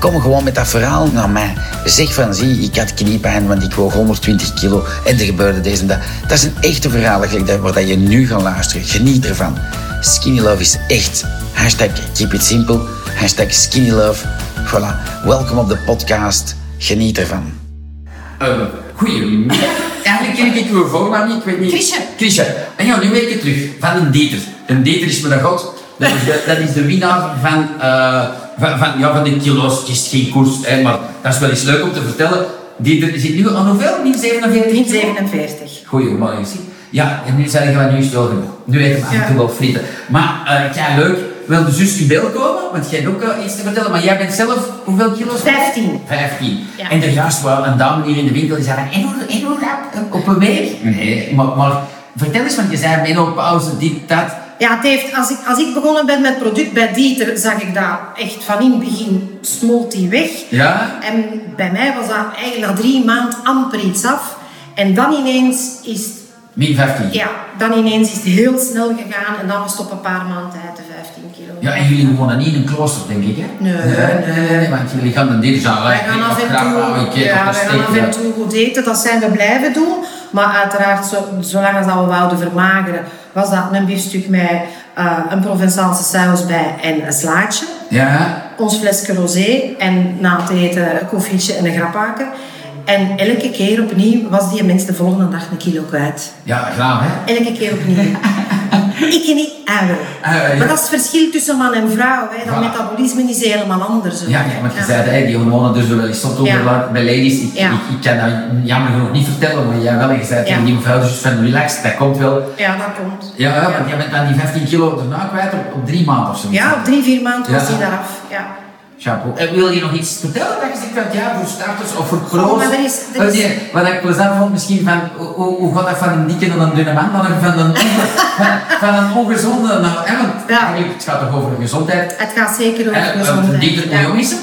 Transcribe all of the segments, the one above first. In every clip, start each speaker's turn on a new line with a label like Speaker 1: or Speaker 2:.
Speaker 1: Kom gewoon met dat verhaal naar mij. Zeg van, zie, ik had kniepijn, want ik woog 120 kilo en er gebeurde deze en dat. Dat is een echte verhaal eigenlijk, dat- waar dat je nu gaat luisteren. Geniet ervan. Skinny Love is echt. Hashtag keep it simple. Hashtag skinny love. Voilà. Welkom op de podcast. Geniet ervan.
Speaker 2: Ehm, goedemiddag. Eigenlijk ken ik uw voornaam niet, ik weet niet.
Speaker 3: Krisje.
Speaker 2: Krisje. En ja, nu weet ik het terug. Van een Deter. Een Deter is mijn god. Dat is de, dat is de winnaar van, eh, van, van, ja, van de kilo's. Het is geen koers, hè, maar dat is wel eens leuk om te vertellen. Deter zit nu aan hoeveel? Min 47?
Speaker 3: Min 47.
Speaker 2: Goeie man, je ziet. Ja, en nu zei ik, "Maar nu is het wel genoeg. Nu eten we af en
Speaker 3: Ja.
Speaker 2: toe wel frieten. Maar, eh ja, leuk. Wil de zus in beeld komen? Want jij hebt ook eh, iets te vertellen. Maar jij bent zelf, hoeveel kilo's?
Speaker 3: 15.
Speaker 2: 15.
Speaker 3: Ja.
Speaker 2: En er juist wel een dame hier in de winkel die zei, en hoe, en hoe rap, op een week? Nee, maar, maar vertel eens, want je zei menopauze, dit, dat.
Speaker 3: Ja, het heeft, als, ik, als ik begonnen ben met product bij Dieter, zag ik dat echt van in het begin smolt die weg.
Speaker 2: Ja?
Speaker 3: En bij mij was dat eigenlijk na drie maanden amper iets af. En dan ineens is, het-
Speaker 2: Min 15.
Speaker 3: ja, dan ineens is het heel snel gegaan en dan was het op een paar maanden tijd de 15 kilo.
Speaker 2: Ja, en jullie wonen niet in een klooster, denk ik, hè?
Speaker 3: Nee,
Speaker 2: nee, nee, nee, want jullie gaan dan dit zaal,
Speaker 3: Wij gaan af en toe, ja, wij gaan af en toe goed eten, dat zijn we blijven doen. Maar uiteraard, zo, zolang als dat we wouden vermageren, was dat een biefstuk met eh, een Provençaalse saus bij en een slaatje.
Speaker 2: Ja?
Speaker 3: Ons flesje rosé en na het eten een koffietje en een grappaken. En elke keer opnieuw was die mens de volgende dag een kilo kwijt.
Speaker 2: Ja, graag, hè?
Speaker 3: Elke keer opnieuw. Ik ken niet uilen.
Speaker 2: Uilen, Ah, ja.
Speaker 3: Maar dat is het verschil tussen man en vrouw. Hè. Dat
Speaker 2: Voilà.
Speaker 3: metabolisme is helemaal anders. hoor.
Speaker 2: Ja, ja, want je zei het, hè, die hormonen dus wel eens zot overlaat bij ladies. Ik,
Speaker 3: Ja.
Speaker 2: ik, ik kan dat jammer genoeg niet vertellen, maar jij wel. Je zei tegen
Speaker 3: Ja.
Speaker 2: die mevrouw dus van relax, dat komt wel.
Speaker 3: ja, dat komt.
Speaker 2: Ja, ja, want jij bent dan die 15 kilo daarna kwijt op, op drie maanden of zo.
Speaker 3: Ja, op drie, vier maanden was
Speaker 2: Ja.
Speaker 3: hij daaraf. Ja.
Speaker 2: Chapeau. En wil je nog iets vertellen dat je zegt van ja, voor starters of voor pro's?
Speaker 3: Oh, maar er is- er
Speaker 2: Wat
Speaker 3: is-
Speaker 2: je- wat ik plezant vond misschien van, hoe- hoe, hoe gaat dat van een dikke naar een dunne man, dan van een, onge- van, van een ongezonde naar... hè, want
Speaker 3: Ja.
Speaker 2: eigenlijk, het gaat toch over gezondheid?
Speaker 3: Het gaat zeker
Speaker 2: Hè,
Speaker 3: over
Speaker 2: want Een dikker, hoe
Speaker 3: gezondheid.
Speaker 2: jong is hem?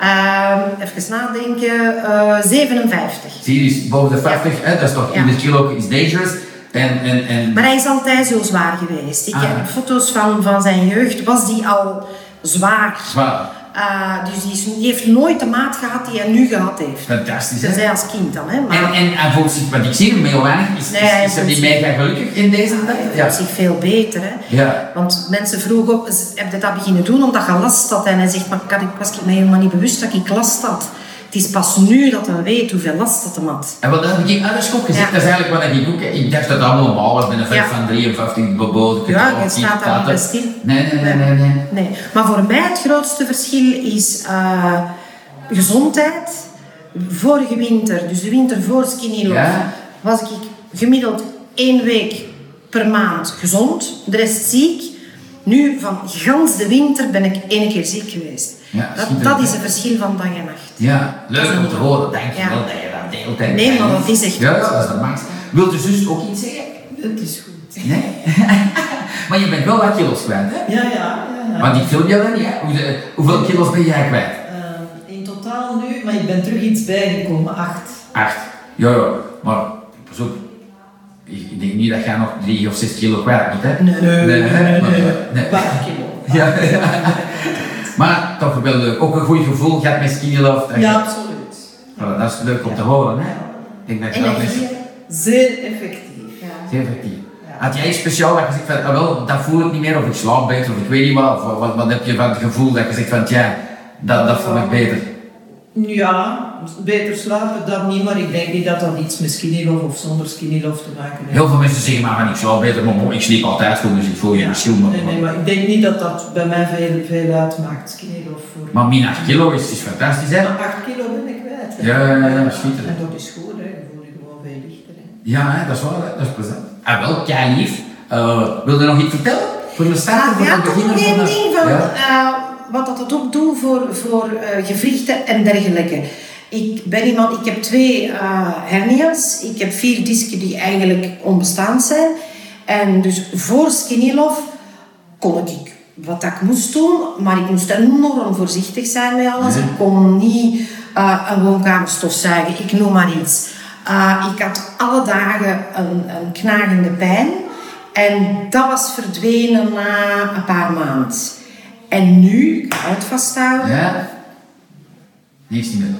Speaker 3: Ja. Ehm, even nadenken. Eh 57.
Speaker 2: Zie je, dus boven de 50, hè, dat is toch
Speaker 3: Ja.
Speaker 2: 100 kilo is dangerous. En, en, en
Speaker 3: Maar hij is altijd zo zwaar geweest. Ik
Speaker 2: Ah.
Speaker 3: heb foto's van, van zijn jeugd. Was die al zwaar?
Speaker 2: zwaar.
Speaker 3: Eh, dus die, is- die heeft nooit de maat gehad die hij nu gehad heeft.
Speaker 2: Fantastisch, hè?
Speaker 3: Zij als kind dan, hè? Maar
Speaker 2: En, en hij voelt zich, wat ik zie hem heel weinig, is,
Speaker 3: Nee,
Speaker 2: is,
Speaker 3: hij
Speaker 2: is hij
Speaker 3: voelt
Speaker 2: niet
Speaker 3: zich-
Speaker 2: mega gelukkig in deze tijd?
Speaker 3: hij voelt zich veel beter, hè?
Speaker 2: Ja.
Speaker 3: Want mensen vroegen op, heb je dat beginnen doen omdat je last had? En hij zegt, maar kan ik, was ik mij helemaal niet bewust dat ik last had. Het is pas nu dat hij weet hoeveel last dat hem had.
Speaker 2: En wat heb ik anders ook gezegd?
Speaker 3: Ja.
Speaker 2: Dat is eigenlijk wat ik ook. Ik dacht dat het allemaal normaal was met een vent
Speaker 3: Ja.
Speaker 2: van 53 beboden.
Speaker 3: Ja,
Speaker 2: je
Speaker 3: je staat daar niet bij stil.
Speaker 2: Nee, nee, nee, nee. nee.
Speaker 3: Nee. Maar voor mij het grootste verschil is eh, gezondheid. Vorige winter, dus de winter voor Skinny Love,
Speaker 2: Ja.
Speaker 3: was ik gemiddeld één week per maand gezond. De rest ziek. Nu, van gans de winter ben ik één keer ziek geweest.
Speaker 2: Ja,
Speaker 3: dat,
Speaker 2: schitterend,
Speaker 3: dat is
Speaker 2: hè?
Speaker 3: het verschil van dag en nacht.
Speaker 2: Ja, leuk om te horen. Dank je
Speaker 3: Ja.
Speaker 2: wel dat je dat deelt. en-
Speaker 3: Nee, maar dat is echt
Speaker 2: Ja,
Speaker 3: goed.
Speaker 2: dat is de max. Wilt je zus ook iets zeggen?
Speaker 4: Het is goed.
Speaker 2: Nee? maar je bent wel wat kilo's kwijt, hè?
Speaker 4: Ja, ja. ja, ja.
Speaker 2: Want ik film jou dan niet, hè? Hoe de- Hoeveel kilo's ben jij kwijt?
Speaker 4: Eh, in totaal nu, maar ik ben terug iets bijgekomen, acht.
Speaker 2: Acht. Ja, ja. Maar, pas op. Ik ik denk niet dat jij nog drie of zes kilo kwijt moet, hè?
Speaker 3: Nee.
Speaker 2: Nee, hè? Maar, nee.
Speaker 4: Paar kilo.
Speaker 2: Ja, ja. Maar toch wel leuk. Ook een goed gevoel gaat met Skinny Love. Dat
Speaker 4: Ja,
Speaker 2: je-
Speaker 4: absoluut.
Speaker 2: Voilà, dat is leuk om te horen. Hè? Ik denk dat je dat
Speaker 3: Energie.
Speaker 2: mensen...
Speaker 4: Zeer effectief.
Speaker 3: Ja.
Speaker 2: Zeer effectief. Had jij iets speciaal dat je zegt van, ah, wel, dat voel ik niet meer, of ik slaap beter, of ik weet niet wat, of wat, wat heb je van het gevoel dat je zegt van, ja, dat, dat vond ik beter.
Speaker 4: Ja, beter slapen dan niet, maar ik denk niet dat dat iets met skinny love of zonder skinny love te maken heeft.
Speaker 2: Heel veel mensen zeggen maar, van, ik slaap beter, maar bon, ik sliep altijd goed, dus ik voel je verschil. Maar,
Speaker 4: Nee, nee, maar ik denk niet dat dat bij mij veel, veel uitmaakt, skinny love. Voor...
Speaker 2: maar min 8 kilo is, is fantastisch, hè?
Speaker 4: Maar acht kilo ben ik kwijt. hè.
Speaker 2: Ja, ja, ja, ja, schitterend.
Speaker 4: En dat is goed, hè. Je voelt je gewoon veel lichter. Hè.
Speaker 2: Ja, hè, dat is waar, hè, dat is plezant. Ah, wel, kei lief. Eh, wil je nog iets vertellen? Voor de starter, voor
Speaker 3: Ja,
Speaker 2: de
Speaker 3: toch nog
Speaker 2: beginner? voor
Speaker 3: één
Speaker 2: de-
Speaker 3: ding van
Speaker 2: Ja.
Speaker 3: eh, wat dat het ook doet voor, voor eh, gewrichten en dergelijke. Ik ben iemand, ik heb twee uh, hernia's. Ik heb vier disken die eigenlijk onbestaand zijn. En dus voor Skinny Love kon ik wat dat ik moest doen, maar ik moest enorm voorzichtig zijn met alles. Nee. Ik kon niet uh, een woonkamer stofzuigen, ik noem maar iets. Uh, ik had alle dagen een, een, knagende pijn en dat was verdwenen na een paar maanden. En nu, ik houd vasthouden,
Speaker 2: ja. niks niet meer.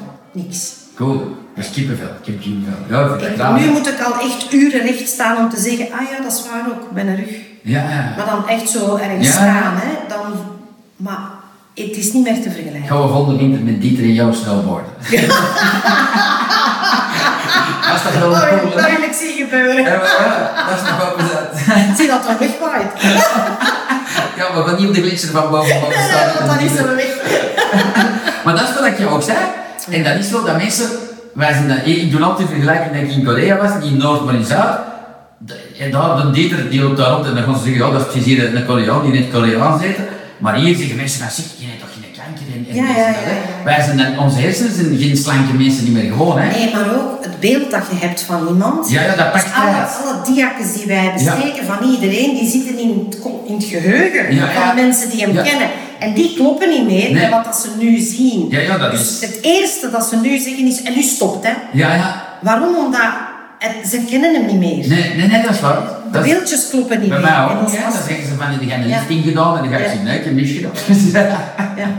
Speaker 3: Niks.
Speaker 2: Cool. Dat is kippenvel. kippenvel. Ja, ik
Speaker 3: ik, nu moet ik al echt uren recht staan om te zeggen, ah ja, dat is waar ook, mijn rug.
Speaker 2: Ja.
Speaker 3: Maar dan echt zo ergens ja. staan, hè. Dan, maar het is niet meer te vergelijken.
Speaker 2: Gaan we volgende winter met Dieter en jou snowboarden? Ja.
Speaker 3: dat is toch wel een probleem? Dat wil Oh, ik zien gebeuren. Ja,
Speaker 2: dat is toch wel
Speaker 3: bezet. Zie dat dan wegwaait.
Speaker 2: ja, maar van niet op de glitser van boven
Speaker 3: boven staan. Nee, want dan is er weg.
Speaker 2: maar dat is wat ik je ook zei. En dat is wel dat mensen... Wij zijn dat, ik doe altijd vergelijking dat ik in Korea was, niet in Noord, maar in Zuid. En daar, de Dieter die loopt daar rond en dan gaan ze zeggen, ja, dat is hier een Koreaan die in het Koreaans zit. Maar hier zeggen mensen, nou, ziek, je hebt toch geen kanker en, en
Speaker 3: ja,
Speaker 2: en, ja, ja, ja. Wij zijn dan, onze hersenen zijn geen slanke mensen niet meer gewoon, hè.
Speaker 3: Nee, maar ook het beeld dat je hebt van iemand. Dus
Speaker 2: Ja, ja, dat pakt
Speaker 3: alle, alle diakken die wij bespreken van iedereen, die zitten in het, in het geheugen van mensen die hem kennen. En die kloppen niet meer nee. met wat ze nu zien.
Speaker 2: Ja, ja, dat is...
Speaker 3: Dus het eerste dat ze nu zeggen is, en nu stopt, hè.
Speaker 2: Ja, ja.
Speaker 3: Waarom? Omdat... En ze kennen hem niet meer.
Speaker 2: Nee, nee, nee dat is waar.
Speaker 3: De beeldjes kloppen niet
Speaker 2: bij
Speaker 3: meer.
Speaker 2: Bij mij ook. Ja, dan zeggen ze van, die gaan een lift ingedaan en dan ga ik zien, nee, ik heb niks gedaan. ja.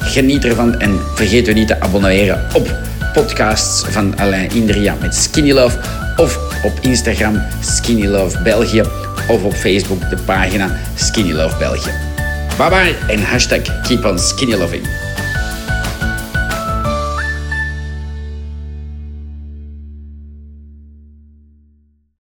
Speaker 1: Geniet ervan en vergeet u niet te abonneren op podcasts van Alain Indria met Skinny Love. Of op Instagram Skinny Love België. Of op Facebook de pagina Skinny Love België. Bye bye en hashtag keep on skinny loving.